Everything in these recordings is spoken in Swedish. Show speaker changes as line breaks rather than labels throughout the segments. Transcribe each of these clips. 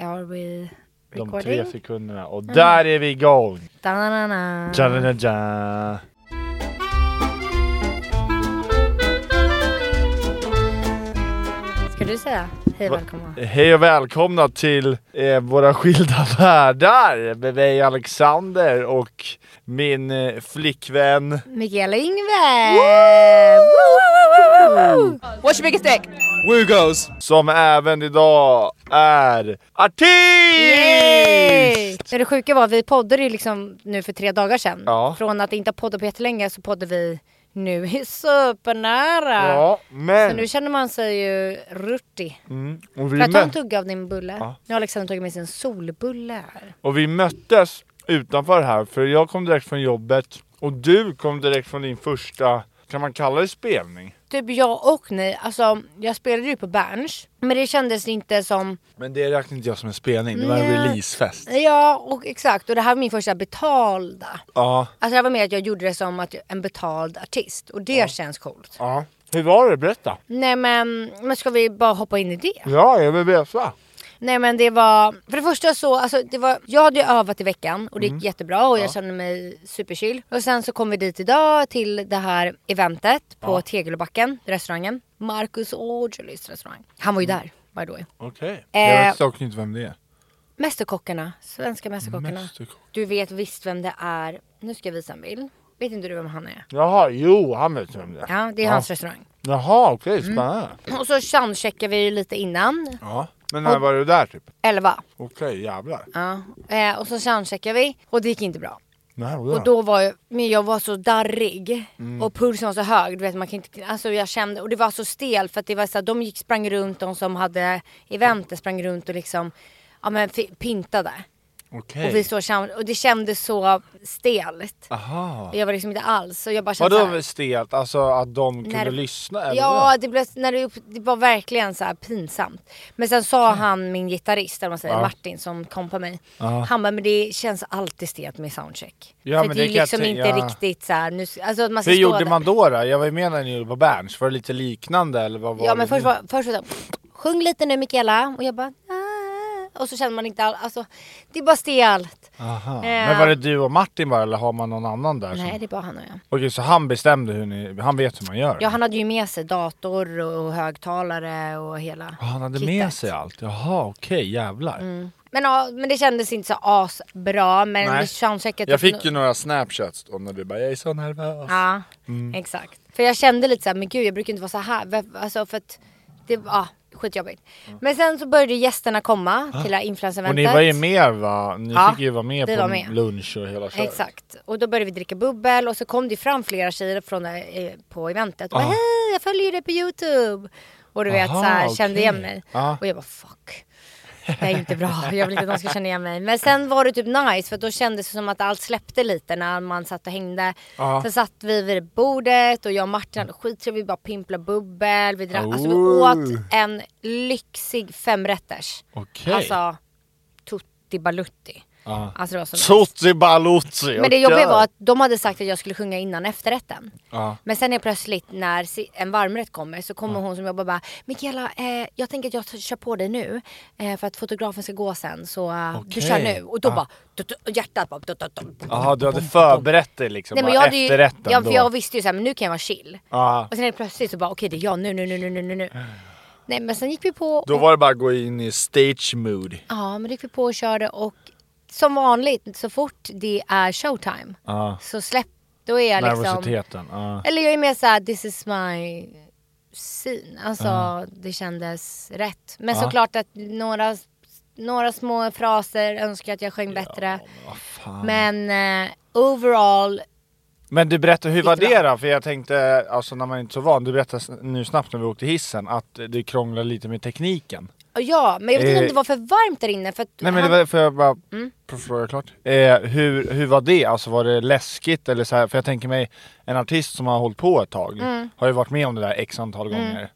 Are we
De tre
recording?
sekunderna. Och
Mm.
där är vi igång!
Da-na-na-na.
Ja, ja, ja.
Ska du säga hej
Va- Eh.
välkomna?
Hej och välkomna till eh, våra skilda världar med mig Alexander och min eh, flickvän.
Mikaela Yngve! Woo, woo, woo, woo, woo.
What's your biggest dick?
Woo goes.
Som även idag är
Yay!
artist!
Ja, Det sjuka var, vi poddade ju liksom nu för tre dagar sedan.
Ja.
Från att inte ha poddat på jättelänge så poddar vi nu supernära.
Ja,
Så nu
men...
känner man sig ju ruttig.
Mm, och,
Får
vi
jag ta en
mö-
tugga av din bulle?
Ja.
Nu har Alexander tagit med sig en solbulle här.
och vi möttes utanför här, för jag kom direkt från jobbet och du kom direkt från din första, kan man kalla det spelning?
Typ jag och ni, alltså jag spelade ju på Berns. Men det kändes inte som
Men det räknar inte jag som en spelning, det var en
Nej.
releasefest.
Ja, och exakt. Och det här var min första betalda.
Ja,
Alltså det här var mer att jag gjorde det som att jag- en betald artist. Och det känns coolt.
ja. Hur var det? Berätta!
Nej men, men ska vi bara hoppa in i det?
Ja, jag vill veta.
Nej men det var, för det första så, alltså det var, jag hade ju övat i veckan och det gick jättebra och jag kände mig superchill. Och sen så kom vi dit idag till det här eventet på Tegelbacken, restaurangen. Marcus Aujalys restaurang. Han var ju där, by the way.
Okej.
Eh,
Jag vet dock inte vem det är.
Mästerkockarna, svenska mästerkockarna.
Mästerkock.
Du vet visst vem det är. Nu ska jag visa en bild. Vet inte du vem han är?
Jaha, jo, han vet vem det är.
Ja, det är hans Mm. restaurang.
Jaha, okej, spännande.
Och så soundcheckar vi ju lite innan.
Ja. Men när var du där typ?
11.
Okej, jävlar.
Ja. Eh, och så soundcheckar vi och det gick inte bra.
Nej,
Och då var jag, men jag var så darrig och pulsen var så hög. Du vet, man kan inte, alltså jag kände, och det var så stel för att det var så här, de gick, sprang runt, de som hade eventet sprang runt och liksom ja, men, fi- pintade.
Okej.
Och, vi så, känd- och det kändes så stelt.
Aha.
Och jag var liksom inte alls. Och jag bara kände så här-
Vadå stelt? Alltså att de kunde
När-
lyssna? Eller
Ja,
vadå?
det, blev, när det, upp- det var verkligen så här pinsamt. Men sen sa
Mm.
han, min gitarrist, eller vad man säger, Martin som kompar mig. Han bara, men det känns alltid stelt med soundcheck.
Ja,
För
men
det är
det kan jag
liksom
tänka-
inte
ja.
riktigt så här, nu, alltså att man ska
Hur
stå
gjorde
där.
man då? då? Jag var ju med när ni gjorde på Berns, var det lite liknande eller vad var
Ja
det
men först
nu?
var, först var det så här, sjung lite nu Mikaela. Och jag bara, "Ah." och så känner man inte all, alltså det är bara stelt.
Aha.
Eh.
Men var det du och Martin bara eller har man någon annan där? som-
Nej det är bara han och jag.
Okej, så han bestämde hur ni, han vet hur man gör?
Ja han hade ju med sig dator och högtalare och hela
Ah, han hade
kittet.
med sig allt? Jaha, okej, jävlar.
Men, ja, men det kändes inte så asbra men
Nej.
det soundchecket
Jag fick ju några snapchats då när du bara jag är så nervös.
Ja,
mm.
exakt. För jag kände lite så här, men gud jag brukar inte vara så här. Varför- Alltså för att det var ah, skitjobbigt. Men sen så började gästerna komma till det här influencer
Ah. Och ni var ju med va? Ni
Ja,
fick ju vara med
vi
på
var med.
lunch och hela köret.
Exakt. Och då började vi dricka bubbel och så kom det fram flera tjejer från, det, eh, på eventet. Och bara,
Ja.
hej jag följer dig på YouTube. Och du vet
Aha,
så här, kände
okej.
igen mig.
Ja.
Och jag bara fuck. Det här är inte bra, jag vill inte att de ska känna igen mig. Men sen var det typ nice för då kändes det som att allt släppte lite när man satt och hängde.
Ja.
Sen satt vi vid bordet och jag och Martin hade skittrevligt, vi bara pimpla bubbel. Vi drack, alltså vi
Oh.
åt en lyxig femrätters.
Okej.
Alltså tutti balutti. Alltså det var så nice.
Tutti balutsi.
Men det jobbiga var att de hade sagt att jag skulle sjunga innan efterrätten.
Ja.
Men sen är plötsligt när si- en varmrätt kommer så kommer hon som jobbar bara Mikaela, eh, jag tänker att jag tar- kör på dig nu eh, för att fotografen ska gå sen så eh, du
Okej.
kör nu. Och då bara, du, du, hjärtat bara... Du, du, du.
Jaha, du hade förberett dig liksom
Nej, men
bara
jag, hade ju,
efterrätten
ja, för
då.
jag visste ju såhär, men nu kan jag vara chill.
Ja.
Och sen är det plötsligt så bara, okej det är jag nu, nu, nu, nu, nu, nu, nu. Nej men sen gick vi på
Då var det bara att gå in i stage mood.
Ja, men det gick vi på och körde och som vanligt så fort det är showtime
Ja.
så släpp, då är jag liksom...
Nervositeten. Ja.
Eller jag är mer såhär, this is my scene. Alltså det kändes rätt. Men såklart att några, några små fraser önskar jag att jag sjöng bättre.
Vad fan.
Men eh, overall
Men du berättade, hur var
Jättebra.
det då? För jag tänkte, alltså när man är inte är så van, du berättade s- nu snabbt när vi åkte hissen att det krånglade lite med tekniken.
Och Ja, men jag vet inte om
Eh,
det var för varmt där inne för att
Nej
han-
men det var, får jag bara
Mm.
pr- fråga klart? Eh, hur, hur var det? Alltså var det läskigt eller så här? För jag tänker mig en artist som har hållit på ett tag
Mm.
har ju varit med om det där x antal gånger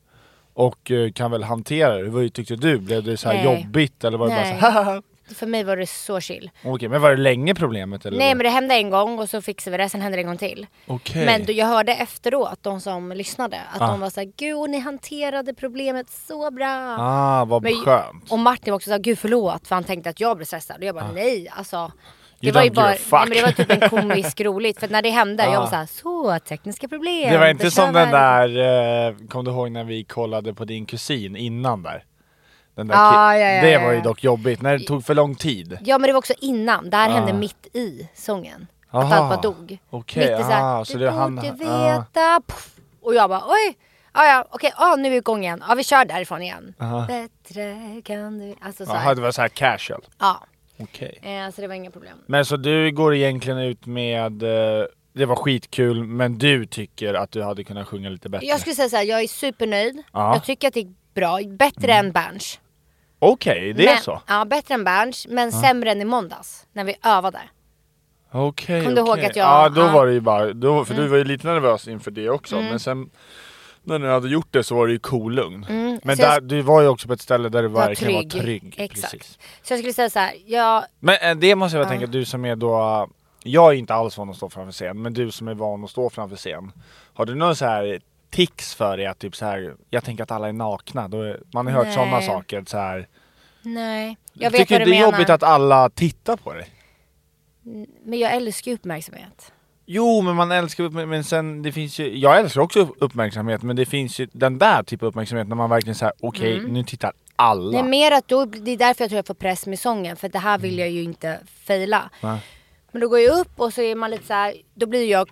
och eh, kan väl hantera det. Vad tyckte du? Blev det så här
Nej.
jobbigt eller var det
Nej.
bara så här?
för mig var det så chill.
Okej, men var det länge problemet eller?
Nej men det hände en gång och så fixade vi det, sen hände det en gång till.
Okej.
Men då, jag hörde efteråt, de som lyssnade, att
Ah.
de var såhär, gud ni hanterade problemet så bra.
Ah, vad
Men-
skönt. Ah.
Och Martin var också såhär, gud förlåt för han tänkte att jag blev stressad och jag bara nej alltså. Det
You
var, ju
don't give a
bara, nej, men det var
fuck.
typ en komisk roligt för när det hände jag
Ah.
var såhär, så tekniska problem.
Det var inte som
kör
den där, eh, kom du ihåg när vi kollade på din kusin innan där? Den där
Ah, ja,
ki-
ja,
det
ja,
var ju
ja.
dock jobbigt, när det tog för lång tid.
Ja men det var också innan, det här hände
Ah.
mitt i sången. Att
Aha.
allt bara dog.
Okej,
mitt i såhär,
aha,
du
så det
borde
är han- ah."
veta. Puff. Och jag bara oj, ah, ja okej, ah, nu är vi igång igen. Ja ah, vi kör därifrån igen.
Ah.
Bättre kan du... Alltså såhär.
Jaha, det var så här casual.
Ja,
Okej.
eh, så det var inga problem.
Men så du går egentligen ut med, eh, det var skitkul, men du tycker att du hade kunnat sjunga lite bättre?
Jag skulle säga såhär, jag är supernöjd.
Ja.
Jag tycker att det gick bra, bättre än Berns.
Okej, det är
men,
så?
Ja, bättre än Berns, men sämre än i måndags när vi övade.
Okej,
Kom du
okej.
ihåg att jag-
Ja, då
ja. Mm.
var det ju bara, då, för du var ju lite nervös inför det också, men sen när du hade gjort det så var det ju kolugn.
Mm,
Men
så jag
där, du var ju också på ett ställe där du
var
verkligen var
trygg.
trygg.
Exakt.
Precis.
Så jag skulle säga såhär, jag...
Men eh, det måste jag bara tänka, du som är då, jag är inte alls van att stå framför scen, men du som är van att stå framför scen. Har du någon så här tics för dig att typ så här, jag tänker att alla är nakna, då är, man har hört
Nej.
sådana saker så här.
Nej. Jag vet
tycker
vad
du
du
det är
menar.
jobbigt att alla tittar på dig?
Men jag älskar ju uppmärksamhet.
Jo men man älskar uppmärksamhet, men sen det finns ju, jag älskar också upp- uppmärksamhet men det finns ju den där typen av uppmärksamhet när man verkligen säger okej nu tittar alla.
Mm. Nej, mer att då, det är därför jag tror jag får press med sången, för det här
Mm.
vill jag ju inte fejla.
Nej.
Men då går jag upp och så är man lite så här, då blir jag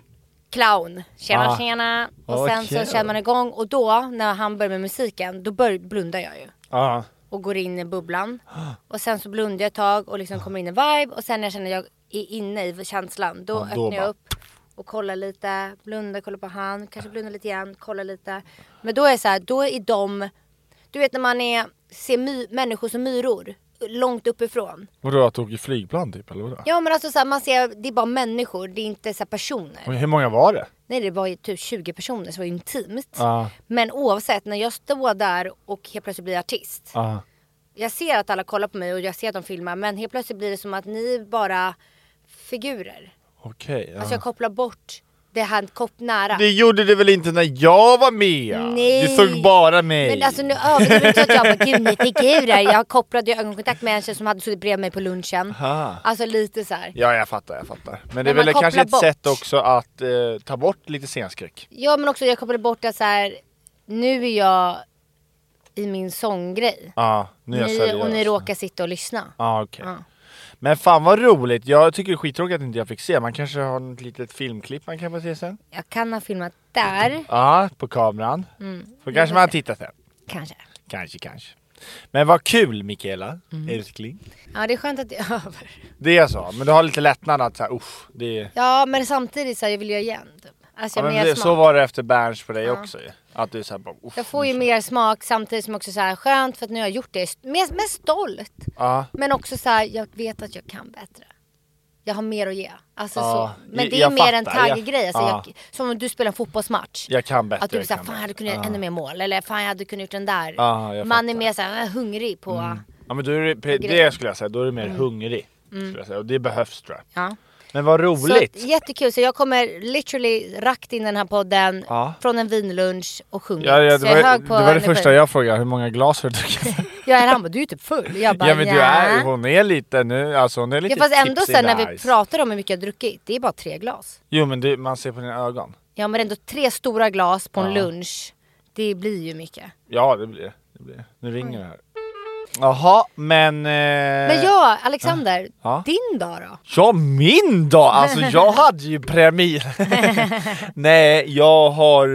clown. Tjena
Ah.
tjena. Och sen
Okej.
så känner man igång och då när han börjar med musiken, då bör, blundar jag ju.
Ja.
och går in i bubblan. Och sen så blundar jag ett tag och liksom kommer in i vibe och sen när jag känner att jag är inne i känslan då,
Ja, då
öppnar
bara-
jag upp och kollar lite, blundar, kollar på han, kanske blundar lite igen, kollar lite. Men då är det så här, då är de, du vet när man är, ser my, människor som myror långt uppifrån.
Vadå att du åker flygplan typ eller vadå?
Ja men alltså så här, man ser, det är bara människor, det är inte så här personer.
Hur många var det?
Nej det var ju typ 20 personer så det var ju intimt.
Ja.
Men oavsett, när jag står där och helt plötsligt blir artist
Ja.
jag ser att alla kollar på mig och jag ser att de filmar men helt plötsligt blir det som att ni är bara figurer.
Okej. ja.
Alltså jag kopplar bort det här kopp nära.
Det gjorde det väl inte när jag var med?
Nej.
Du såg bara mig.
Men alltså nu överdriver inte så att jag bara gud ni är figurer. Jag kopplade ju ögonkontakt med en tjej som hade suttit bredvid mig på lunchen.
Aha.
Alltså lite så här.
Ja, jag fattar, jag fattar. Men, det är
man
väl
kopplar
kanske ett
bort.
sätt också att eh, ta bort lite scenskräck.
Ja men också jag kopplade bort att så här. nu är jag i min sånggrej.
Ja, nu är jag
Ni,
seriös.
och ni råkar sitta och lyssna.
Ja, okej.
Ja.
Men fan vad roligt. Jag tycker det är skittråkigt att inte jag fick se. Man kanske har något litet filmklipp man kan få se sen.
Jag kan ha filmat där,
Ja, på kameran.
Mm.
Så kanske man tittar sen.
kanske.
Kanske, kanske. Men vad kul Mikaela,
Mm.
älskling.
Ja det är skönt att det är över.
Det är så. Men du har lite lättnad att såhär, usch, det är...
Ja men samtidigt så här, jag vill göra igen. Typ. Alltså
Ja,
jag är
men
mer
det,
smak.
så var det efter Berns för dig också ju. Att du såhär bara, uff.
Jag får ju mer smak samtidigt som också så här skönt för att nu har jag gjort det. Mer, mer stolt.
Ja.
Men också så här, jag vet att jag kan bättre. Jag har mer att ge. Alltså
Ja,
så. Men
jag-
det är
jag
mer en
fattar. Jag-
tagggrej. Alltså
ja.
jag, som om du spelar en fotbollsmatch.
Jag kan bättre.
Att du
jag
såhär,
kan
fan jag
bättre."
hade kunnat göra ännu mer mål. Eller fan jag hade kunnat gjort den där.
Ja, jag
Man är
fattar. Mm.
mer såhär hungrig på...
Ja men då är det, pe-
grejer. Mm.
det skulle jag säga, då är du mer hungrig. Skulle jag säga. Och det behövs tror jag.
Ja.
Men vad
Så,
roligt!
jättekul, så jag kommer literally rakt in den här podden
Ja.
från en vinlunch och sjunger.
Ja, ja, det,
så jag är
var,
hög
det,
på
var det
energi.
första jag frågade, hur många glas har du druckit?
Ja, han bara, du är ju typ full. Jag bara,
ja men du är, hon är lite nu, alltså hon är lite
Ja, fast ändå
tipsy
sen när vi
nice.
pratar om hur mycket jag druckit, det är bara tre glas.
Jo men det, man ser på dina ögon.
Ja men ändå tre stora glas på en lunch, det blir ju mycket.
Eh, Ja det blir det. det. Blir. det. Nu ringer det här. Jaha, men... Eh...
Men ja, Alexander,
Ja.
din dag då?
Ja, min då? Alltså jag hade ju premiär. Nej, jag har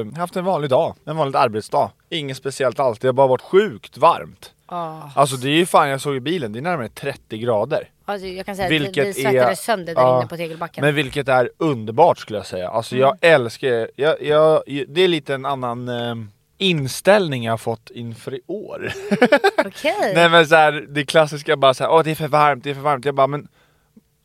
eh, haft en vanlig dag. En vanlig arbetsdag. Inget speciellt alls. Det har bara varit sjukt varmt.
Ja,
Alltså det är ju fan, jag såg i bilen, det är närmare 30 grader.
alltså, jag kan säga
Vilket
att vi, vi svettades
är-
sönder där
ja.
inne på tegelbacken.
Men vilket är underbart skulle jag säga. Alltså jag
Mm.
älskar, jag, jag, det är lite en annan eh, inställning jag har fått inför i år.
Okej.
Nej men såhär, det klassiska bara såhär, åh det är för varmt, det är för varmt. Jag bara, men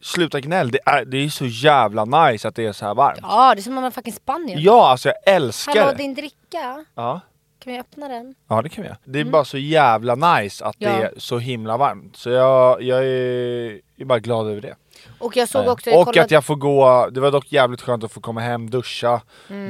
sluta gnäll. Det är, det är så jävla nice att det är så här varmt.
Ja, det är som om man är fucking Spanien.
Ja, alltså jag älskar
Hallå
det.
din dricka,
Ja.
kan vi öppna den?
ja, det kan vi göra. Det är bara så jävla nice att
Mm. Ja.
det är så himla varmt. Så jag, jag är, är bara glad över det.
Och jag såg också, jag
och
kollade-
att jag får gå, det var dock jävligt skönt att få komma hem, duscha,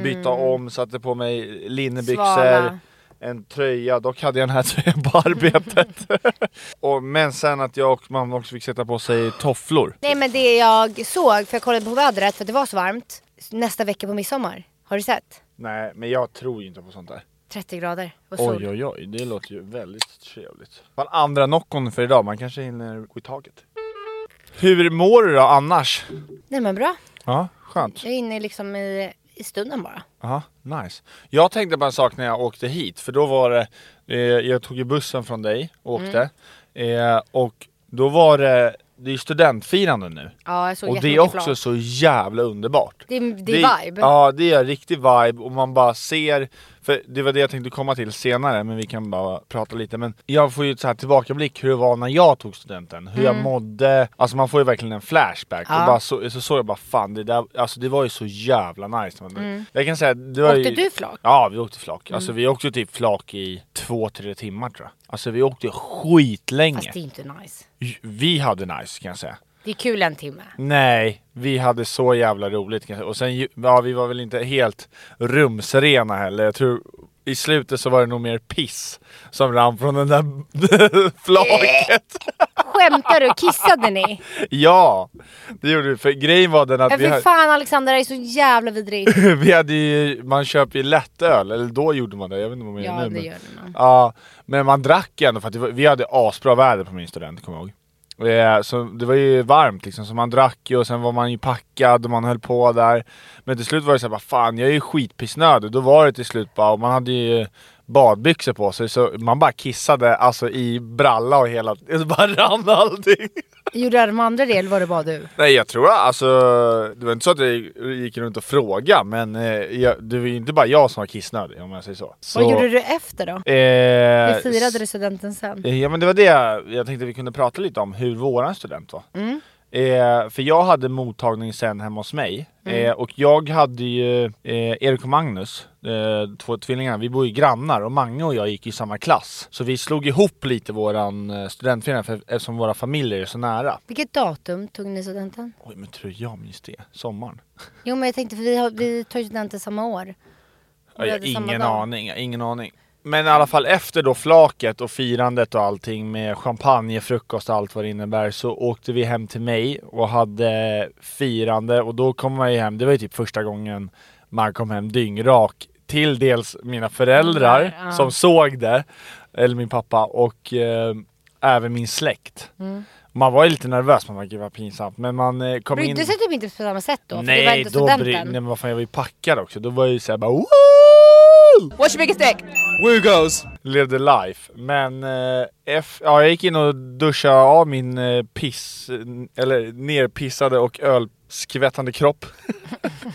byta om, satte på mig linnebyxor.
Mm. Svala.
En tröja, dock hade jag den här tröjan på arbetet. och, men sen att jag och mamma också fick sätta på sig tofflor.
Nej men det jag såg, för jag kollade på vädret för att det var så varmt. Nästa vecka på midsommar, har du sett?
Nej, men jag tror ju inte på sånt där.
30 grader och sol.
Oj oj oj, det låter ju väldigt trevligt. Man andra Noccon för idag, man kanske hinner gå i taget. Hur mår du då annars?
Nej men bra,
Ja, skönt.
jag är inne liksom i, i stunden bara.
Ja, nice. Jag tänkte på en sak när jag åkte hit, för då var det, eh, jag tog ju bussen från dig och åkte. Eh, och då var det, det är ju studentfirande nu.
Ja jag såg
Och det är
jättemycket
också
plan.
så jävla underbart.
Det är- det är vibe.
Ja, det är en riktig vibe och man bara ser, för det var det jag tänkte komma till senare, men vi kan bara prata lite. Men jag får ju så här tillbakablick hur det var när jag tog studenten, hur jag mådde. Alltså man får ju verkligen en
Mm.
flashback.
Ja.
Och bara så, så såg jag bara fan, det, där, alltså, det var ju så jävla nice. när man- Jag kan säga, det var
Mm. Åkte
ju...
du flak? Mm.
Ja, vi åkte flak. Alltså vi åkte typ flak i två, tre timmar tror jag. Alltså vi åkte skitlänge.
Fast det är inte nice.
Vi hade nice kan jag säga.
Det är kul en timme.
Nej, vi hade så jävla roligt kanske. Och sen, ju- ja vi var väl inte helt rumsrena heller. Jag tror i slutet så var det nog mer piss som rann från den där flaket.
Äh. Skämtar du? Kissade ni?
ja, det gjorde vi. För grejen var den
Ja,
att vi
fy
hade,
fan Alexander, det är så jävla vidrigt.
vi hade ju, man köper ju lättöl, eller då gjorde man det. Jag vet inte vad man gör
Ja
nu.
det
men-
gör det nog.
Ja, men man drack ju ändå för att det var, vi hade asbra väder på min student, kommer jag ihåg. Eh, Så det var ju varmt liksom, så man drack ju och sen var man ju packad och man höll på där. Men till slut var det såhär, bara, fan jag är ju skitpissnödig. Då var det till slut bara, och man hade ju badbyxor på sig så man bara kissade alltså i bralla och hela, det bara rann allting.
Gjorde de andra det eller var det bara du?
Nej jag tror alltså, det var inte så att jag gick runt och frågade men eh, jag, det var ju inte bara jag som var kissnödig om jag säger så. så
Vad gjorde du efter då?
Eh,
Hur firade du studenten sen?
Eh, Ja men det var det jag, jag tänkte vi kunde prata lite om, hur våran student var. Eh, för jag hade mottagning sen hemma hos mig eh, och jag hade ju eh, Erik och Magnus, eh, två tvillingar, vi bor ju grannar och Mange och jag gick i samma klass. Så vi slog ihop lite våran eh, studentförening för, eftersom våra familjer är så nära.
Vilket datum tog ni studenten?
Oj men tror jag minns det? Sommaren?
Jo men jag tänkte för vi, har, vi tar ju studenten samma år.
Ja,
Vi
Jag har
hade samma
ingen
dag.
aning, jag har ingen aning. Men i alla fall efter då flaket och firandet och allting med champagne, frukost och allt vad det innebär så åkte vi hem till mig och hade firande och då kom man ju hem, det var ju typ första gången man kom hem dyngrak till dels mina föräldrar
Ja.
som såg det, eller min pappa och eh, även min släkt.
Mm.
Man var ju lite nervös, man var gud vad pinsamt men man eh, kom in
Brydde sig typ inte på samma sätt då? för det var
Nej,
ändå
då bry- nej
studenten.
men vad fan jag var ju packad också, då var jag ju såhär bara Woo!
What's your biggest dick? Woo goes.
Levde life. Men eh, F, ja, jag gick in och duschade av min eh, piss, eller nerpissade och ölskvättande kropp.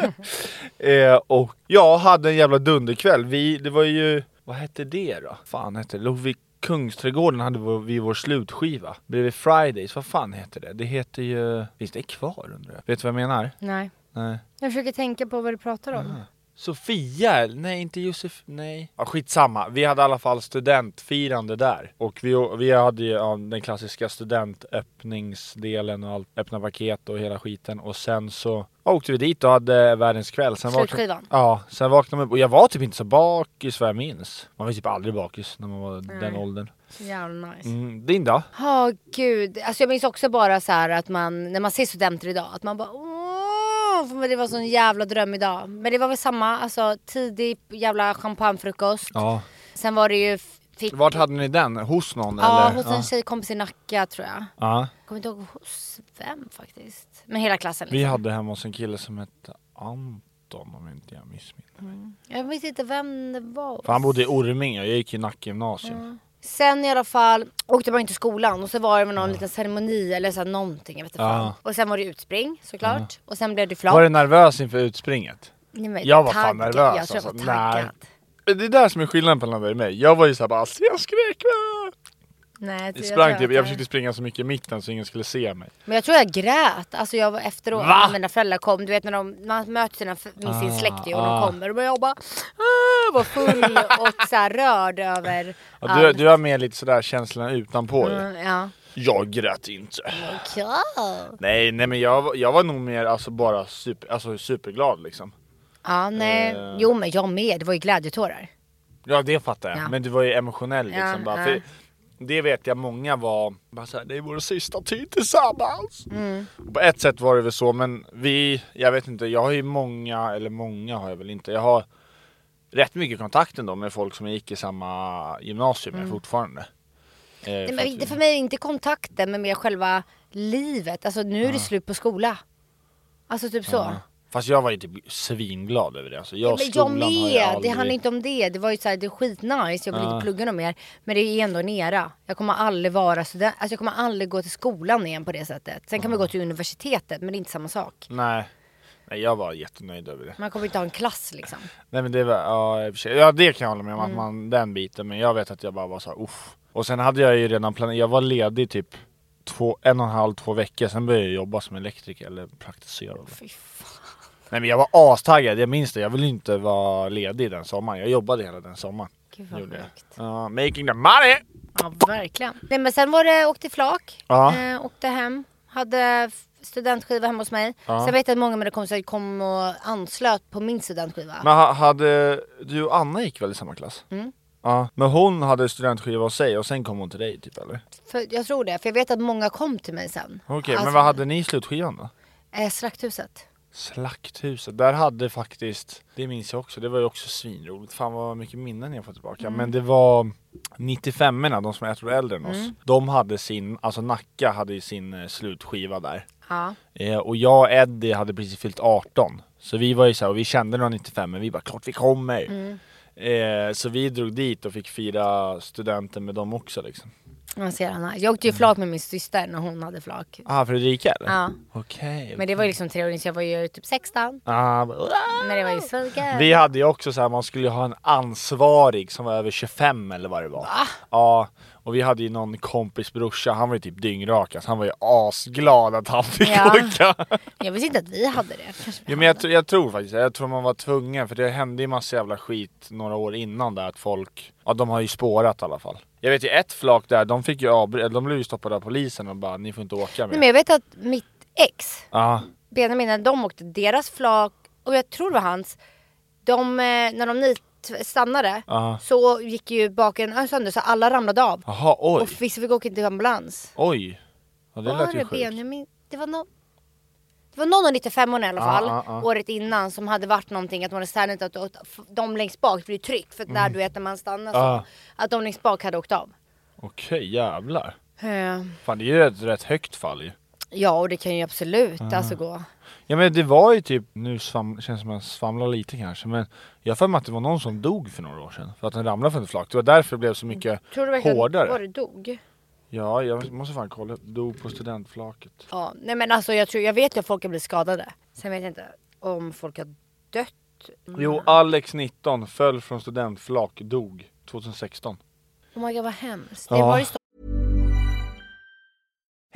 eh, och jag hade en jävla dunderkväll. Vi, det var ju, vad hette det då? Fan hette det? Låg vi Kungsträdgården hade vår- vi vår slutskiva. Bredvid Fridays, vad fan heter det? Det heter ju... Finns det kvar undrar jag? Vet du vad jag menar?
Nej.
Nej.
Jag försöker tänka på vad du pratar om.
Sofia? Nej, inte Josef. Nej. Ja, skitsamma. Vi hade i alla fall studentfirande där. Och vi, vi hade ju ja, den klassiska studentöppningsdelen och allt, öppna paket och hela skiten. Och sen så ja, åkte vi dit och hade världens kväll. Sen vaknade-
Slutskivan.
Ja, sen vaknade man upp och jag var typ inte så bakis vad jag minns. Man var ju typ aldrig bakis när man var den
Nej.
åldern.
Så jävla nice.
Mm, din då?
Ja gud, alltså jag minns också bara så här att man, när man ser studenter idag, att man bara åh, för men det var sån jävla dröm idag. Men det var väl samma, alltså tidig jävla champagnefrukost.
Ja.
Sen var det ju f- Fick...
Vart hade ni den? Hos någon
Ja,
eller?
hos en tjejkompis i Nacka tror jag.
ja.
Kommer inte ihåg hos vem faktiskt. Men hela klassen
Vi
liksom.
hade hemma hos en kille som hette Anton om inte jag missminner mig.
liksom. Jag minns inte vem det var.
För han bodde i Orminge och jag gick i Nacka gymnasium.
Sen i alla fall åkte man inte till skolan och så var det väl någon liten ceremoni eller så här någonting, jag vet inte
Ja.
fan. Och sen var det utspring såklart. Och sen blev det flak.
Var du nervös inför utspringet?
Nej, men
Jag var fan
taggad.
nervös,
Jag tror jag var
alltså.
taggad.
Det är där som är skillnaden mellan dig och mig. Jag var ju såhär bara alltså, jag skrek va?
Nej, jag tror-
Jag
jag tror
sprang typ,
var
jag
taggad.
försökte springa så mycket i mitten så ingen skulle se mig.
Men jag tror jag grät. Alltså jag var efteråt
Va?
när mina föräldrar kom. Du vet när de, man möter sina, f- med sin släkt ju, och
ah.
de kommer. Och bara- jag bara ah, var full och så här rörd över
Ja, du, du har med lite sådär känslan utanpå dig.
Mm, ja.
Jag grät inte.
Cool.
Nej, nej men jag, var- jag var nog mer alltså bara super, alltså, superglad liksom.
Ja, nej.
Eh.
Jo men jag med. Det var ju glädjetårar.
Ja det fattar jag,
Ja.
men du var ju emotionell liksom.
Ja,
bara,
ja.
för det vet jag många var bara såhär, det är vår sista tid tillsammans.
Mm.
Och på ett sätt var det väl så, men vi, jag vet inte, jag har ju många, eller många har jag väl inte, jag har rätt mycket kontakt ändå med folk som jag gick i samma gymnasium med fortfarande. Eh,
Mm. Nej,
för att
men
vi-
det för mig är det inte kontakten men mer själva livet. Alltså nu
Ah.
är det slut på skola. Alltså typ så.
Fast jag var ju typ svinglad över det. Alltså, jag,
Ja, men jag
skolan har jag
med! Det
aldrig-
handlar inte om det. Det var ju såhär, det är skitnice, jag vill inte plugga något mer. Men det är ändå en era. Jag kommer aldrig vara student, alltså jag kommer aldrig gå till skolan igen på det sättet. Sen kan man gå till universitetet, men det är inte samma sak.
Nej. Nej, jag var jättenöjd över det.
Man kommer inte ha en klass liksom.
Nej men det var, ja, i och för sig. ja det kan jag hålla med om, att
Mm.
man, den biten. Men jag vet att jag bara var så här, uff. Och sen hade jag ju redan planerat, jag var ledig typ två, en och en halv, två veckor. Sen började jag jobba som elektriker eller praktiserade.
Fy fan.
Nej men jag var astaggad, jag minns det. Jag ville inte vara ledig den sommaren. Jag jobbade hela den sommaren.
Gud vad
Gjorde jag.
sjukt.
Ja, making the money!
Ja, verkligen. Nej men sen var det, åkte flak,
Ja.
eh, åkte hem, hade f- studentskiva hemma hos mig.
Ja.
Sen vet jag att många av mina kompisar kom och anslöt på min studentskiva.
Men ha, hade, du och Anna gick väl i samma klass?
Mm.
Ja, men hon hade studentskiva hos sig och sen kom hon till dig typ eller?
För, jag tror det, för jag vet att många kom till mig sen.
Okej, men
Alltså,
vad hade ni i slutskivan då?
Eh, Slakthuset.
Slakthuset, där hade faktiskt, det minns jag också, det var ju också svinroligt. Fan vad mycket minnen jag fått tillbaka.
Mm.
Men det var 95 erna de som jag tror är äldre än oss.
Mm.
De hade sin, alltså Nacka hade ju sin eh, slutskiva där.
Ja.
Eh, och jag och Eddie hade precis fyllt 18. Så vi var ju såhär, och vi kände några 95 men vi bara klart vi kommer.
Mm.
Eh, så vi drog dit och fick fira studenten med dem också liksom.
Man ser Anna. Jag
Mm.
åkte ju flak med min syster när hon hade flak.
Ah, Fredrika eller?
Ja.
Okej.
Men det var ju liksom tre år in, så jag var ju typ 16.
Ah, bara-
Men det var ju så gött.
Vi hade ju också så här, man skulle ju ha en ansvarig som var över 25 eller vad det var. Ja, och vi hade ju någon kompis brorsa, han var ju typ dyngrak alltså, han var ju asglad att han fick
Ja.
åka.
Jag visste inte att vi hade det. Kanske vi
Jo, men jag,
hade.
tr- jag tror faktiskt, jag tror man var tvungen för det hände ju massa jävla skit några år innan där att folk, ja de har ju spårat i alla fall. Jag vet ju ett flak där, de fick ju avbry- de blev ju stoppade av polisen och bara ni får inte åka
Nej,
mer.
men jag vet att mitt ex,
Ja,
Benjamin, när de åkte deras flak, och jag tror det var hans, de, eh, när de nit- stannade
Ja.
så gick ju bakgrunden sönder så alla ramlade av.
jaha oj,
Och vissa fick åka till ambulans.
oj. Ja, det
var
lät ju
det
sjukt.
Benjamin? Det var någon... Det var någon av 95 orna i alla
Ja,
fall,
ja, ja.
året innan, som hade varit någonting att man hade stannat att, att de längst bak blir tryck för att när du vet när man stannar så,
Mm. Ja.
att de längst bak hade åkt av.
Okej jävlar.
Eh,
Fan det är ju ett rätt högt fall ju.
Ja och det kan ju absolut alltså gå.
Ja men det var ju typ, nu svam, känns det som att jag svamlar lite kanske men Jag har för mig att det var någon som dog för några år sedan för att den ramlade från ett flak. Det var därför det blev så mycket
Mm. Tror du verkligen
hårdare.
var det dog?
Ja jag måste fan kolla, dog på studentflaket.
Ja, nej men alltså jag tror, jag vet ju att folk har blivit skadade. Sen vet jag inte om folk har dött.
Jo Alex 19 föll från studentflak, dog 2016.
Oh my god vad hemskt. Det
Ja.
var ju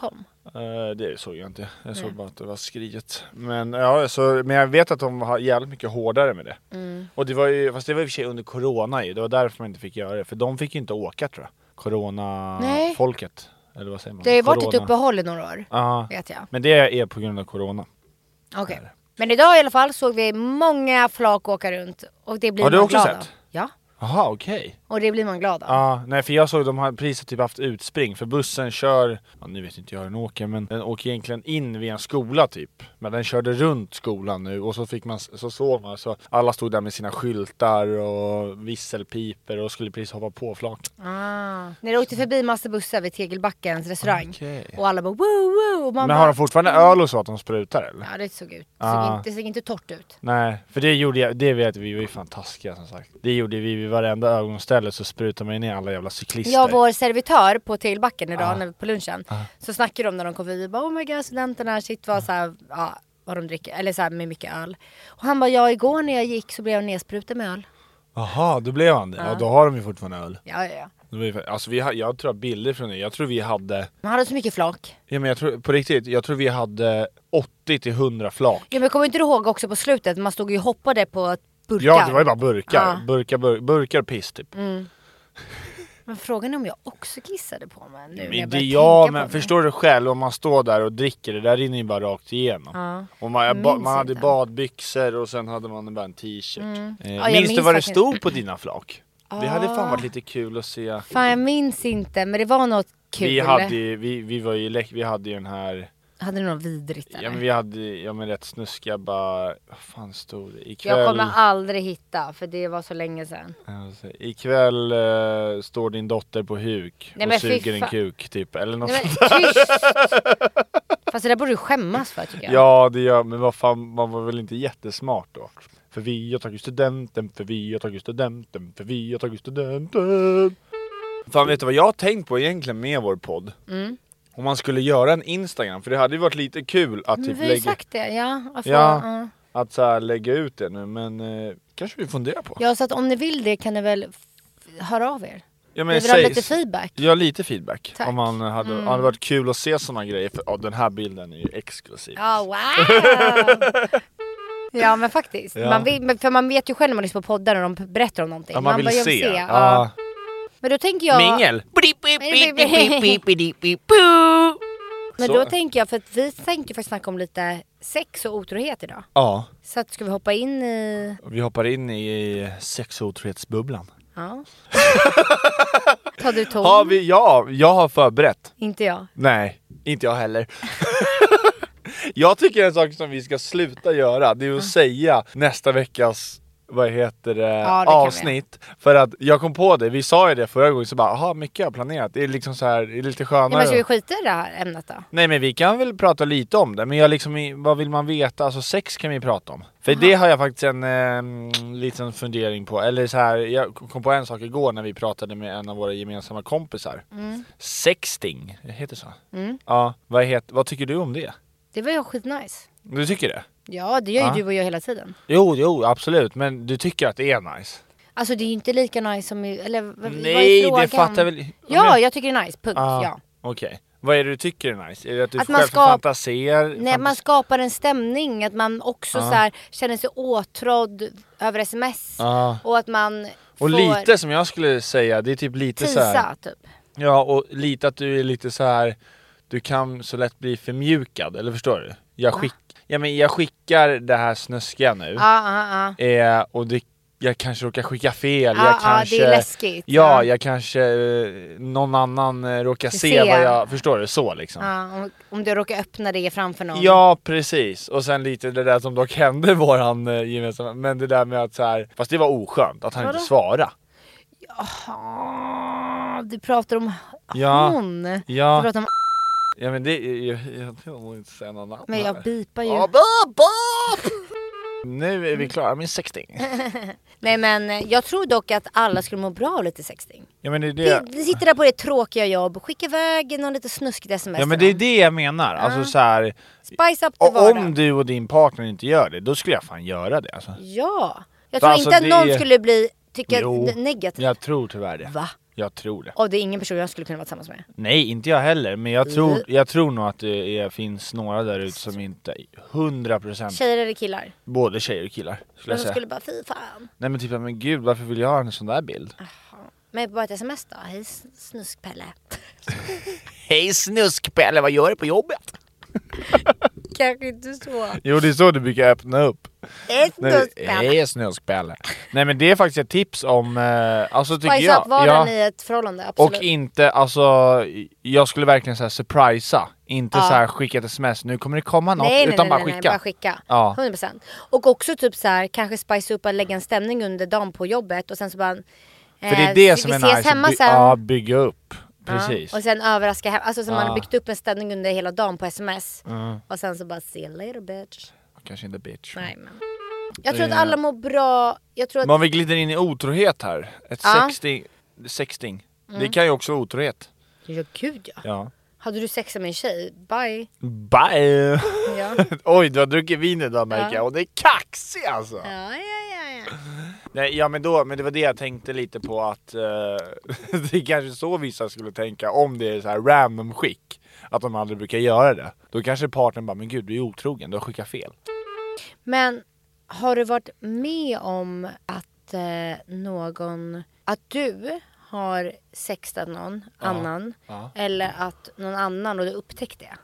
Kom.
Eh, det såg jag inte. Jag såg bara att det var skriet. Men, ja, så, men jag vet att de har jävligt mycket hårdare med det.
Mm.
Och det var ju, fast det var i och för sig under corona ju. Det var därför man inte fick göra det. För de fick ju inte åka tror jag.
Nej.
Corona-folket. Eller vad säger man?
Det har ju varit ett
Corona.
uppehåll i några år.
Ja.
Vet jag.
Men det är på grund av corona.
Okej. Men idag i alla fall såg vi många flak åka runt. Och det blir
Har du
man
också
glad
sett?
av. Ja.
Jaha, okej.
Och det blir man glad av.
Ja, nej för jag såg de har precis typ haft utspring för bussen kör, ja, nu vet inte jag hur den åker men den åker egentligen in vid en skola typ. Men den körde runt skolan nu och så fick man, så såg man så alla stod där med sina skyltar och visselpiper och skulle precis hoppa på flak.
Ah. När det åkte förbi massa bussar vid Tegelbackens restaurang.
Okej.
Och alla bara woo woo. Och man
Men
bara,
har de fortfarande öl och så att de sprutar eller?
Ja det såg ut. Det såg,
Ah.
inte, det såg inte torrt ut.
Nej, för det gjorde jag, det vet vi, vi var ju fantastiska som sagt. Det gjorde vi vid varenda ögonställe så sprutade man ju ner alla jävla cyklister.
Jag och vår servitör på Tegelbacken
Ah.
idag när vi på lunchen. Så snackade de när de kom förbi. Vi bara oh my god studenterna shit
Ah.
vad så här, ja, vad de dricker. Eller så här med mycket öl. Och han bara ja igår när jag gick så blev jag nedspruten med öl.
Jaha, då blev han det. Ja, då har de ju fortfarande öl.
Ja ja ja.
Det var ju fa- Alltså vi, ha- jag tror jag har bilder från det, jag tror vi hade
Man hade så mycket flak.
Ja men jag tror, på riktigt, jag tror vi hade 80 till 100 flak.
Ja men kommer inte du ihåg också på slutet, man stod ju och hoppade på burkar.
Ja det var ju bara burkar,
Ja. Mm,
burkar, bur, burkar och piss typ.
Men frågan är om jag också kissade på mig nu när
men
jag
det,
börjar
ja
tänka
men
på
förstår du själv om man står där och dricker, det där rinner ju bara rakt igenom. Och man, jag, ba,
minns
man hade
inte. Mm.
badbyxor och sen hade man bara en t-shirt.
jag
Eh, minns du
minns
vad det
faktiskt-
stod på dina flak? Det hade fan varit lite kul att se.
det. Fan jag minns inte men det var något kul.
Vi hade, ju- vi, vi, var ju, lä- vi hade ju den här,
Hade du något vidrigt eller?
ja men vi hade ja, men rätt snuskiga bara, vad fan stod det? Ikväll...
Jag kommer aldrig hitta för det var så länge sedan.
Alltså, ikväll eh, står din dotter på huk
Nej,
och
men fy
suger en
fan.
kuk typ eller något
Nej, men,
sånt.
tyst! Fast det där borde du skämmas för tycker jag.
Ja det gör men vad fan man var väl inte jättesmart då. För vi har tagit studenten, för vi har tagit studenten, för vi har tagit studenten. Fan vet du vad jag har tänkt på egentligen med vår podd?
Mm.
Om man skulle göra en Instagram, för det hade ju varit lite kul att
men
typ
vi har ju
lägga,
sagt det, ja. varför-
Ja.
ja.
att så här, lägga ut det nu men eh, kanske vi funderar på.
Ja så att om ni vill det kan ni väl f- höra av er.
Ja,
vi vill ha lite feedback.
Ja, lite feedback.
Tack. Mm.
Om man hade, hade varit kul att se sådana grejer, för ja, den här bilden är ju exklusiv.
Ja, Ah, wow! ja, men faktiskt.
Ja.
Man vill, men- för man vet ju själv när man lyssnar på poddar och de berättar om någonting.
Ja, man vill
bara, jag
se.
ja.
Ja.
Men då tänker jag...
Mingel!
men
Så.
då tänker jag, för att vi tänkte ju faktiskt snacka om lite sex och otrohet idag.
Ja,
Så att ska vi hoppa in i...
vi hoppar in i sex och otrohetsbubblan.
Ja. Tar du ton?
Har vi, ja, jag har förberett.
Inte jag.
Nej, inte jag heller. jag tycker en sak som vi ska sluta göra, det är att säga nästa veckas vad heter det,
det kan vi.
avsnitt. För att jag kom på det, vi sa ju det förra gången, så bara aha, mycket har jag planerat. Det är liksom så här, det är lite
Ja,
skönare.
men ska vi skita i det här ämnet då?
Nej men vi kan väl prata lite om det, men jag liksom, i- vad vill man veta? Alltså sex kan vi prata om. För det har jag faktiskt en eh, liten fundering på, eller så här, jag kom på en sak igår när vi pratade med en av våra gemensamma kompisar. Sexting, det heter så? Ja, vad, het, vad tycker du om det?
Det var ju skitnice.
Du tycker det?
Ja, det gör ju
Ja.
du och jag hela tiden.
Jo, jo absolut, men du tycker att det är nice?
Alltså det är ju inte lika nice som... i- Eller, vad- vad är
Nej,
frågan?
det fattar väl...
Ja, jag tycker det är nice. Punkt.
Ah,
Ja.
Okej. Vad är det du tycker är nice? Är det att du
Att man
själv
ska-
fantaserar?
Nej, man
fantas-
skapar en stämning, att man också så här, känner sig åtrådd över sms.
Ah.
Och att man
Och
får
lite som jag skulle säga, det är typ lite så här.
tisa, typ.
Ja, och lite att du är lite så här. Du kan så lätt bli förmjukad, eller förstår du? Jag, skick, ja, men jag skickar det här snuskiga nu,
Ja, ja, ja.
eh, och det, jag kanske råkar skicka fel.
Ja, ja,
jag
det är
kanske,
läskigt.
Ja,
Ja.
jag kanske... eh, Någon annan eh, råkar se,
Ser.
vad jag... Förstår du? Så liksom.
Ja, om, om du råkar öppna det framför någon.
Ja precis, och sen lite det där som dock hände i våran eh, gemensamma, men det där med att så här, fast det var oskönt att han inte svarade.
Ja, du pratar om
Ja.
hon. Du
Ja,
pratar om
ja men det är jag, jag, jag vill inte säga något namn
men
här.
jag bipar ju.
Ja, bop, bop! Nu är vi klara med sexting.
Nej men eh, jag tror dock att alla skulle må bra av lite sexting.
Ja men det är det.
Yeah. Sitter där på det tråkiga jobb, skicka iväg någon lite snuskigt sms.
Ja men det är det jag menar. Alltså så här,
Spice up the
och
vardag.
om du och din partner inte gör det, då skulle jag fan göra det alltså.
Ja. Jag
För
tror
alltså,
inte att
det
någon
är-
skulle bli, tycka
Jo.
n- negativt.
Jag tror tyvärr det.
Va?
Jag tror det.
Och det är ingen person jag skulle kunna vara tillsammans med.
Nej, inte jag heller. Men jag
Mm.
tror, jag tror nog att det är, finns några där ute som inte 100%
Tjejer eller killar?
både tjejer och killar skulle
De
jag säga.
skulle bara fy fan.
Nej men typ, men gud varför vill jag ha en sån där bild?
Ah. Men bara ett sms då. Hej snuskpelle.
Hej snuskpelle, vad gör du på jobbet?
Kanske inte så.
Jo det är så du brukar öppna upp.
Hej
Nej,
snuskpelle.
Hej snuskpelle. Nej men det är faktiskt ett tips om, eh, alltså tycker
Spice
jag.
up vardagen
ja.
i ett förhållande, absolut.
Och inte, alltså jag skulle verkligen säga surprisa. Inte så här skicka ett sms, nu kommer det komma något,
Nej, nej,
utan
nej,
bara
nej, nej,
skicka.
bara skicka.
Ja.
100%. Och också typ så här, kanske spice upp och lägga en stämning under dagen på jobbet och sen så bara...
För det är det som
Eh, vi
är
ses
nice,
hemma
by-
sen.
ja bygga upp. Precis.
Och sen överraska hem, alltså så man
Ah.
har byggt upp en stämning under hela dagen på sms. Och sen så bara see you later bitch.
Kanske inte bitch.
Nej men. Jag tror att
Eh.
alla mår bra, jag tror att...
Men om vi glider in i otrohet här. Ett
Ja. Mm.
sexting. sexting. Det kan ju också vara otrohet.
Ja gud ja.
Ja.
Hade du sex med en tjej? Bye.
Bye!
Ja.
Oj, du har druckit vin idag märker jag. Och det är kaxig alltså!
Ja, ja, ja, ja.
Nej, ja men då, men det var det jag tänkte lite på att eh, det är kanske så vissa skulle tänka om det är så här random skick. Att de aldrig brukar göra det. Då kanske partnern bara, men gud du är otrogen, du har skickat fel.
Men har du varit med om att eh, någon, att du har sextat någon annan eller att någon annan och du upptäckte det?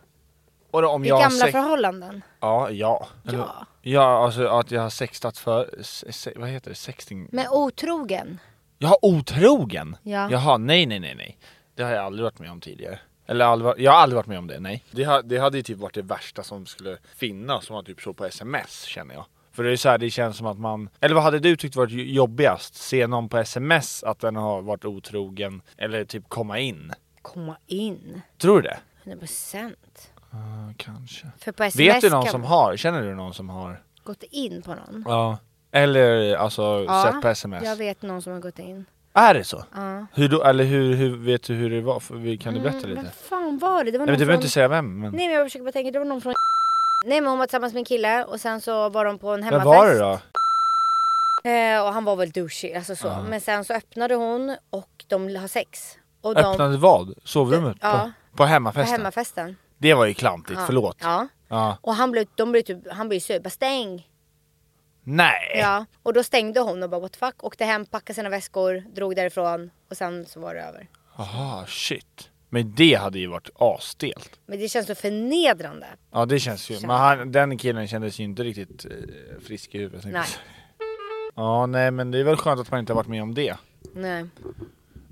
Och då, om
I
jag har
gamla
sex-
förhållanden?
Ja, ja. Eller- Ja, alltså att jag har sextat för, se, se, vad heter det, sexting?
Men otrogen?
Jag har otrogen?
Ja.
Jaha, nej nej nej nej. Det har jag aldrig varit med om tidigare. Eller aldrig, varit- jag har aldrig varit med om det, nej. Det, ha, det hade ju typ varit det värsta som skulle finnas om man typ såg på sms känner jag. För det är så här, det känns som att man... Eller vad hade du tyckt varit jo- jobbigast? Se någon på sms att den har varit otrogen eller typ komma in?
Komma in?
Tror du det?
100 procent.
Ja, kanske.
För på sms
Vet du någon
kan
som
man
har? Känner du någon som har?
gått in på någon?
Ja. Eller alltså sett på sms?
jag vet någon som har gått in.
Är det så? Hur då, eller hur, hur, vet du hur det var? För vi- Kan du berätta lite?
Vem fan var det? Det var någon
Nej, men du behöver
från...
inte säga vem, men
Nej men jag försöker bara tänka, det var någon från Nej men hon var tillsammans med en kille och sen så var de på en
vem
hemmafest.
var det då?
Eh, och han var väl douchig, alltså så. Men sen så öppnade hon och de har sex. Och de
Öppnade vad? Sovrummet?
Ja.
På, på
på
hemmafesten?
hemmafesten.
Det var ju klantigt,
Ja.
förlåt.
Ja.
Ja.
Och han blev, de blev typ, han blev sur, bara stäng.
Nej!
Ja. Och då stängde hon och bara what the fuck. Åkte hem, packade sina väskor, drog därifrån och sen så var det över.
Aha, shit. Men det hade ju varit asstelt.
Men det känns så förnedrande.
Ja det känns ju, men han, den killen kändes ju inte riktigt eh, frisk i huvudet. tänkte jag
Nej.
säga. Ja nej men det är väl skönt att man inte har varit med om det.
Nej.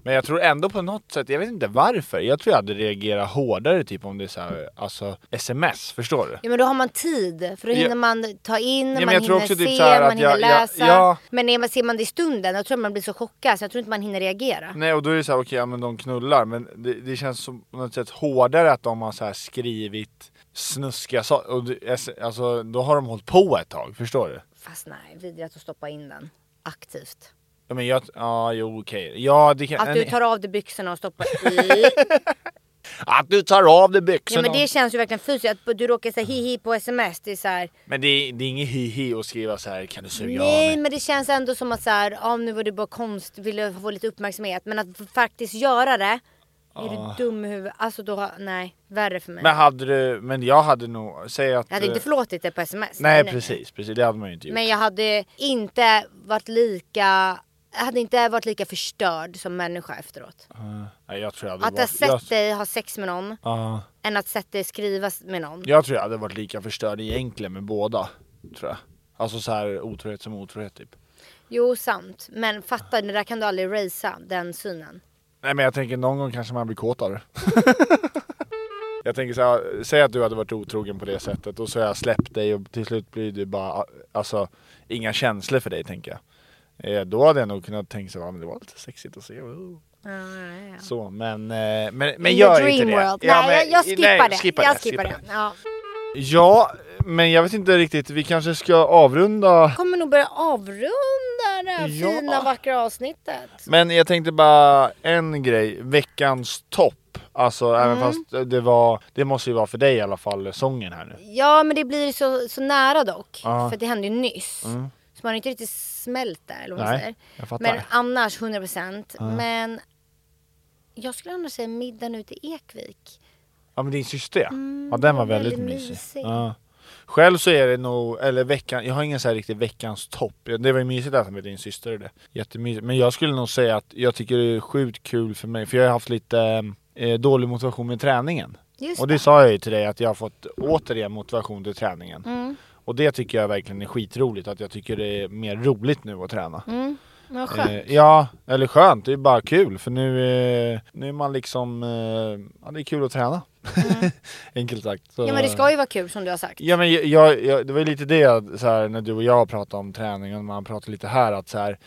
Men jag tror ändå på något sätt, jag vet inte varför, jag tror jag hade reagerat hårdare typ om det är så här, alltså sms, förstår du?
Ja men då har man tid, för då hinner
Ja.
man ta in,
men
man
jag tror
hinner
också
se,
typ så här
man
att
hinner
jag- jag-
läsa.
ja.
Men är man, ser man det i stunden, jag tror man blir så chockad så jag tror inte man hinner reagera.
Nej och då är det så här, okej ja, men de knullar men det, det känns som på något sätt hårdare att de har så här skrivit snuskiga saker. Och det- alltså då har de hållit på ett tag, förstår du?
Fast nej, vidrigt att stoppa in den aktivt.
Ja men jag, ja jo okej. Ja det kan...
Att du
nej.
tar av dig byxorna och stoppar i.
att du tar av dig byxorna!
ja, men det känns ju verkligen fysiskt. Att du råkar säga hihi på sms. Det är så här,
men det, är- det är inget hihi att skriva så här kan du suga av
nej
mig?
men det känns ändå som att så här, ja, nu var du bara konst, ville få lite uppmärksamhet. Men att faktiskt göra det. Är du dum i huvudet? Alltså då, har- nej. Värre för mig.
Men hade du, men jag hade nog, säg att...
jag hade inte förlåtit det på sms.
nej,
men-
precis, precis det hade man ju inte gjort.
Men jag hade inte varit lika, jag hade inte varit lika förstörd som människa efteråt.
Mm. Nej, jag tror jag hade
Att ha
varit...
sett
jag,
dig ha sex med någon,
Ja.
än att sett dig skriva med någon.
Jag tror jag hade varit lika förstörd egentligen med båda. Tror jag. Alltså så här otrohet som otrohet typ.
Jo, sant. Men fatta, det där kan du aldrig racea, den synen.
Nej men jag tänker någon gång kanske man blir kåt av det. jag tänker så här, säg att du hade varit otrogen på det sättet och så har jag släppt dig och till slut blir du bara, alltså inga känslor för dig tänker jag. Eh, då hade jag nog kunnat tänka så här, "Ja, men det var lite sexigt att se. Oh. Så, men, eh, men, men
In
gör
the
inte
dream
det.
world.
Ja,
nej,
men-
jag, jag skippar
nej,
det.
skippa
jag
det,
skippar
skippa
det. Ja.
Ja, men jag vet inte riktigt. Vi kanske ska avrunda.
Kommer nog börja avrunda det här
Ja.
fina vackra avsnittet.
Men jag tänkte bara en grej. Veckans topp. Alltså även fast det var, det måste ju vara för dig i alla fall, sången här nu.
Ja men det blir så, så nära dock.
Ja. Mm.
För det hände ju nyss. Så man har inte riktigt smält där eller vad man
Nej,
säger.
jag fattar.
Men annars 100%. Men jag skulle annars säga middagen ute i Ekvik.
Ja men din syster ja. den var väldigt,
väldigt
mysig.
mysig.
Ja. Själv så är det nog, eller veckan, jag har ingen så här riktig veckans topp. Det var ju mysigt där med din syster och det. Jättemysigt. Men jag skulle nog säga att jag tycker det är sjukt kul för mig, för jag har haft lite eh, dålig motivation med träningen.
Just
och det sa jag ju till dig att jag har fått återigen motivation till träningen. Och det tycker jag verkligen är skitroligt, att jag tycker det är mer roligt nu att träna.
Vad skönt.
Eh, ja, eller skönt, det är bara kul för nu, eh, nu är man liksom, eh, ja det är kul att träna. Enkelt sagt. Så-
Mm. Ja men det ska ju vara kul som du har sagt.
Ja men jag, jag, jag, det var ju lite det så här, när du och jag pratade om träning och man pratade lite här att så här,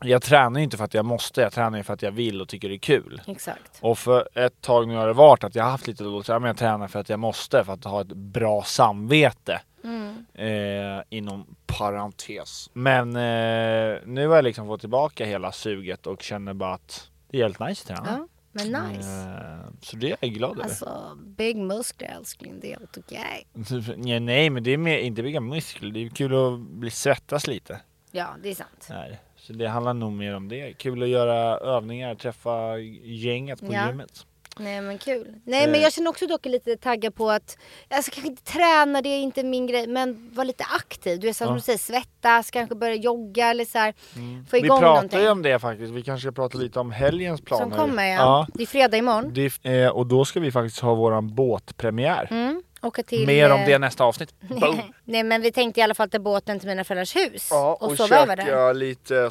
jag tränar ju inte för att jag måste, jag tränar ju för att jag vill och tycker det är kul.
Exakt.
Och för ett tag nu har det varit att jag har haft lite dåligt ja, men jag tränar för att jag måste för att ha ett bra samvete.
Mm.
Eh, inom parentes. Men eh, nu har jag liksom fått tillbaka hela suget och känner bara att det är jävligt nice att träna.
Ja, men nice.
Eh, så det är jag glad över.
Alltså big muskler älskling, det är helt okej.
Nej, nej men det är mer, inte bygga muskler, det är kul att bli svettas lite.
Ja det är sant.
Nej. Så det handlar nog mer om det. Kul att göra övningar, träffa gänget på
Ja.
gymmet.
Nej men kul. Nej
Eh.
men jag känner också dock lite taggad på att, alltså kanske inte träna, det är inte min grej, men vara lite aktiv. Du är så som du säger, svettas, kanske börja jogga eller så här, få
Mm. Vi
igång
pratar
någonting.
ju om det faktiskt, vi kanske ska prata lite om helgens planer.
Som kommer ja.
ja.
Det är fredag imorgon.
Det är, eh, och då ska vi faktiskt ha våran båtpremiär.
Mm. Åka till...
Mer om
eh,
det nästa avsnitt. Boom.
Nej men vi tänkte i alla fall ta båten till mina föräldrars hus
Ja, och,
och sova över där.
käka lite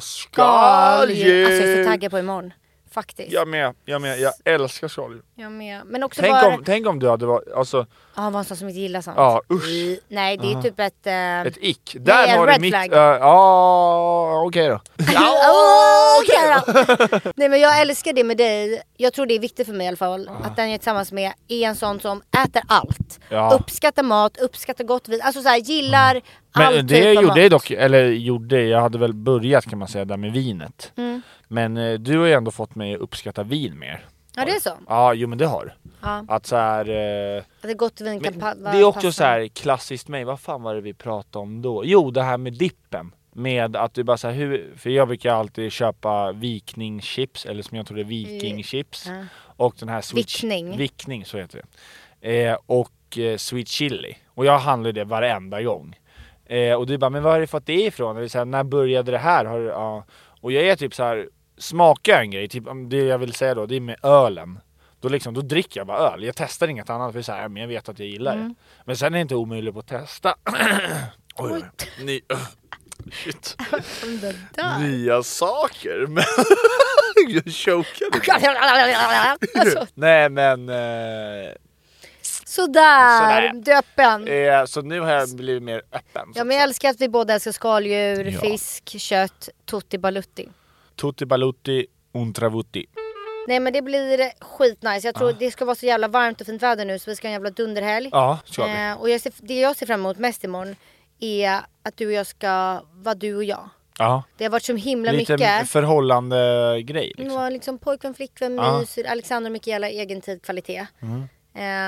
Skaldjur!
skaldjur.
Alltså jag är så taggad på imorgon. Faktiskt.
jag med, jag med, jag älskar skaldjur.
Jag med. Men också
Tänk
bara...
om, tänk om du hade varit, alltså
Ja, var en sån som inte gillar sånt.
Ja, usch.
Nej, det är typ ett... eh,
ett ick. Där
en
har du
red
mitt,
flag.
eh, ja okej då.
Åh, okej då. Nej men jag älskar det med dig. Jag tror det är viktigt för mig i alla fall
Ah.
att den jag är tillsammans med är en sån som äter allt.
Ja. Mm.
Uppskattar mat, uppskattar gott vin, alltså så här, gillar all
Men det
typ av
gjorde
mat.
jag dock, eller gjorde, jag hade väl börjat kan man säga där med vinet.
Mm.
Men eh, du har ju ändå fått mig att uppskatta vin mer.
Ja det är så.
Ja, jo men det har
Ja.
Att så här, eh,
Att ett gott vin kan
men
pa-
Det är också
passa.
så här klassiskt mig, vad fan var det vi pratade om då? Jo, det här med dippen. Med att du bara så här, hur, för jag brukar alltid köpa vikningchips, eller som jag tror det är vikingchips.
Ja.
Och den här sweet
Vickning.
Vickning, så heter det. Eh, och eh, sweet chili. Och jag handlar ju det varenda gång. Eh, och du bara, men var har du fått det ifrån? Eller så här, när började det här? Har du, ja. Och jag är typ så här, smakar jag en grej, typ, om det jag vill säga då, det är med ölen. Då, liksom, då dricker jag bara öl, jag testar inget annat för så här, men jag vet att jag gillar det. Men sen är det inte omöjligt på att testa. oj, oj. Ny, shit.
Det där.
Nya saker. Men jag chokade.
Alltså,
Nej men... Eh,
Sådär,
Sådär.
du är öppen.
Eh, så nu har jag blivit mer öppen.
Ja men jag älskar att vi båda älskar skaldjur,
Ja.
fisk, kött, tutti balutti.
Tutti balutti, untravutti.
Nej men det blir skitnice. Jag tror
Ah.
det ska vara så jävla varmt och fint väder nu så vi ska ha en jävla dunderhelg.
Ja, ska vi.
Eh, och jag ser, det jag ser fram emot mest imorgon är att du och jag ska vara du och jag.
Ja.
Det har varit så himla
Lite
mycket.
förhållande grej
Det
liksom. Ah.
var liksom pojkvän, flickvän,
Ja.
mys, Alexander och Mikaela, egen tid, kvalitet.
Mm.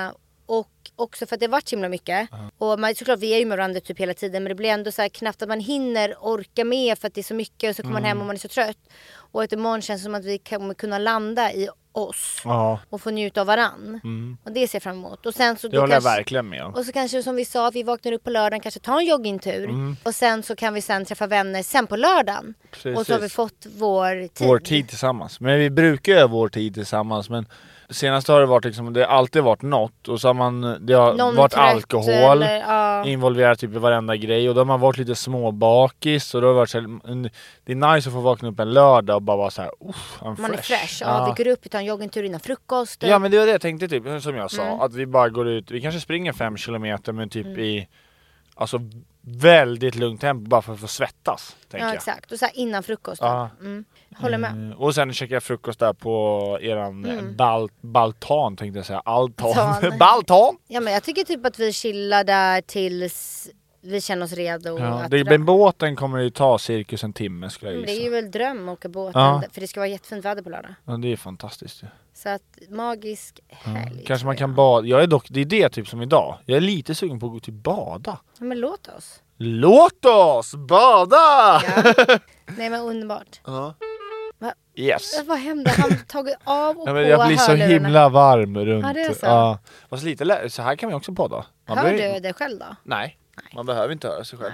Eh, och också för att det har varit så himla mycket.
Ah.
Och man, såklart vi är ju med varandra typ hela tiden men det blir ändå så här knappt att man hinner orka med för att det är så mycket och så kommer man
Mm.
hem och man är så trött. Och att imorgon känns det som att vi kommer kunna landa i oss
Ja,
och få njuta av varann. Och det ser jag fram emot. Och sen så
Mm. det håller jag verkligen med om.
Och så kanske som vi sa, vi vaknar upp på lördagen, kanske tar en joggingtur.
Mm.
Och sen så kan vi sen träffa vänner sen på lördagen.
Precis.
Och så har vi fått vår tid.
Vår tid tillsammans. Men vi brukar ju ha vår tid tillsammans men senast har det varit liksom, det har alltid varit något och så har man, det har
Någon
varit
trött
alkohol
eller- ja.
involverat typ i varenda grej och då har man varit lite småbakis och då har det varit så här, en- det är nice att få vakna upp en lördag och bara vara såhär, I'm
Man är
fresh.
fresh. Ja, vi går upp, vi tar en joggingtur innan frukosten.
Ja men
Mm.
det var det jag tänkte typ, som jag sa, att vi bara går ut, vi kanske springer fem kilometer men typ i Alltså väldigt lugnt tempo bara för att få svettas. Tänker
Ja
jag.
exakt. Och så här innan frukost. typ.
Ja.
Mm. Håller med.
Eh, Och sen käkade jag frukost där på eran eh,
Mm.
bal- baltan tänkte jag säga. Altan.
Tan.
baltan!
Ja men jag tycker typ att vi chillar där tills vi känner oss redo.
Ja,
att
det,
dra-
men båten kommer ju ta cirkus en timme skulle jag
Mm, det
gissa.
är ju väl dröm att åka båten.
Ja.
För det ska vara jättefint väder på lördag.
Ja, det är fantastiskt ju.
Så att magisk helg.
Kanske
tror
man
jag.
kan bada. Jag är dock, det är det typ som idag. Jag är lite sugen på att gå till bada.
Ja, men låt oss.
Låt oss bada!
Ja. Nej men underbart.
Yes.
Eh, Vad hände? Han tagit av och
Ja,
på
men jag blir så
hörlurarna.
himla varm runt.
Ja, det är så.
Fast lite lä- så här kan man också podda. Man
Hör
behöver-
du det själv då?
Nej. Man behöver inte höra sig själv.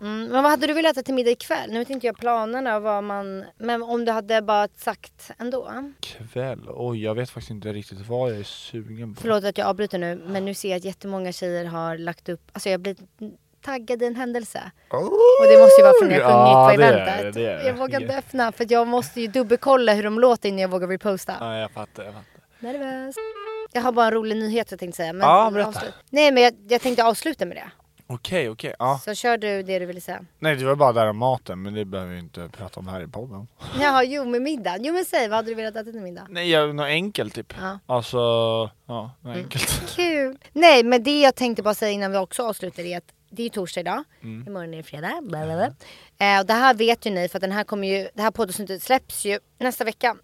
Mm, men vad hade du velat äta till middag ikväll? Nu vet inte jag planerna vad man... Men om du hade bara sagt ändå.
Kväll. Oj, jag vet faktiskt inte riktigt vad jag är sugen på.
Förlåt att jag avbryter nu men nu ser jag att jättemånga tjejer har lagt upp... Alltså jag blir taggad i en händelse. Och det måste ju vara från när jag
Ja,
sjungit på
det är det,
eventet.
det är det.
Jag vågar inte öppna för att jag måste ju dubbelkolla hur de låter innan jag vågar reposta.
Ja, jag fattar. Jag fattar.
Nervös. Jag har bara en rolig nyhet jag tänkte säga. Men
Ja, berätta.
avslut- Nej men jag, jag tänkte avsluta med det.
Okej, okej. Ja.
Så kör du det du ville säga.
Nej, det var bara där om maten, men det behöver vi inte prata om här i podden.
Jaha, jo med middagen. Jo men säg, vad hade du velat äta till middag?
Nej, jag, något enkelt typ.
Ja. Mm.
Alltså, ja, något enkelt.
Kul! Nej men det jag tänkte bara säga innan vi också avslutar är att det är ju torsdag idag. Imorgon är det fredag. Bla, bla, bla. Eh, och det här vet ju ni för att den här kommer ju, det här poddavsnittet släpps ju nästa vecka.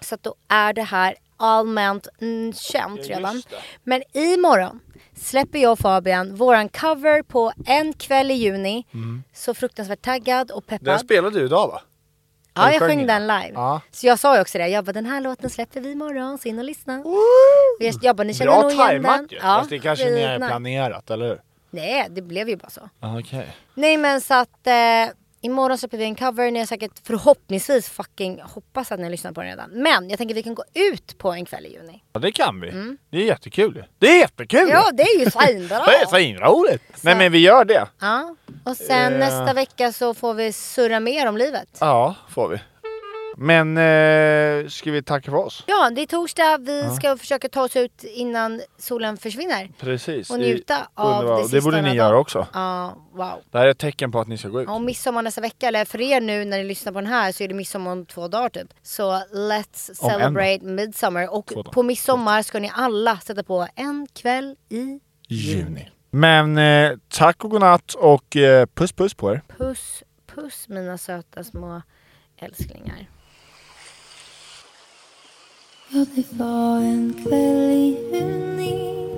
Så att då är det här allmänt mm, känt redan. Men imorgon släpper jag och Fabian våran cover på En kväll i juni. Så fruktansvärt taggad och peppad.
Den spelade du idag va?
Ja,
Den
jag
sjöng
sjöng
jag.
den live.
Ja.
Så jag sa ju också det. Jag bara, den här låten släpper vi imorgon, så in och lyssna. Och jag, jag bara, ni känner
Bra
nog igen
tajmat
den.
ju! Fast det kanske ni har
skitnice.
planerat, eller hur?
Nej, det blev ju bara så.
Okej.
Nej, men så att eh, imorgon släpper vi en cover. Ni har säkert förhoppningsvis fucking hoppas att ni har lyssnat på den redan. Men jag tänker att vi kan gå ut på en kväll i juni.
Ja, det kan vi. Det är jättekul ju. Det är jättekul!
Mm. Ja, det är ju svinbra.
Mm. Det är svinroligt! Nej men vi gör det.
Ja, och sen
Eh.
nästa vecka så får vi surra mer om livet.
Ja, får vi. Men eh, ska vi tacka för oss?
Ja, det är torsdag. Vi ska försöka ta oss ut innan solen försvinner.
Precis.
Och
I-
njuta av
underbar-
det sista
borde ni
dagen.
göra också.
Ja, wow.
Det här är ett tecken på att ni ska gå ut.
Ja, Och midsommar nästa vecka, eller för er nu när ni lyssnar på den här så är det midsommar om två dagar typ. Så let's
Om en
celebrate midsummer. Och
Två dagar.
på midsommar ska ni alla sätta på en kväll i
Juni. Men eh, tack och godnatt och eh, puss puss på er.
puss, puss mina söta små älsklingar.
Ja, det var en kväll i juni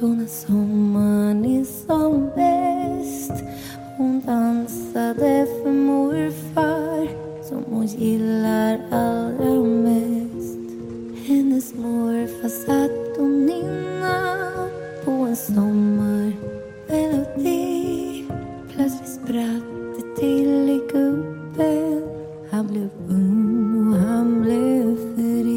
då när sommaren är som bäst Hon dansade för morfar som hon gillar allra mest Hennes morfar satt och nynnade på en sommarmelodi Plötsligt spratt det till i gubben Han blev ung och han blev fri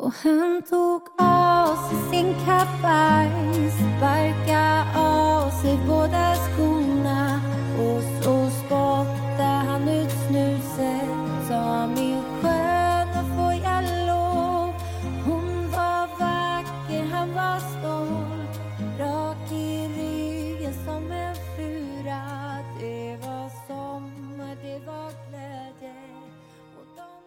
och han tog av sig sin kavaj Sparka av sig båda skorna Och så spottade han ut snuset Sa min sköna får jag lov Hon var vacker, han var stolt Rak i ryggen som en fura Det var sommar, det var glädje och de dans-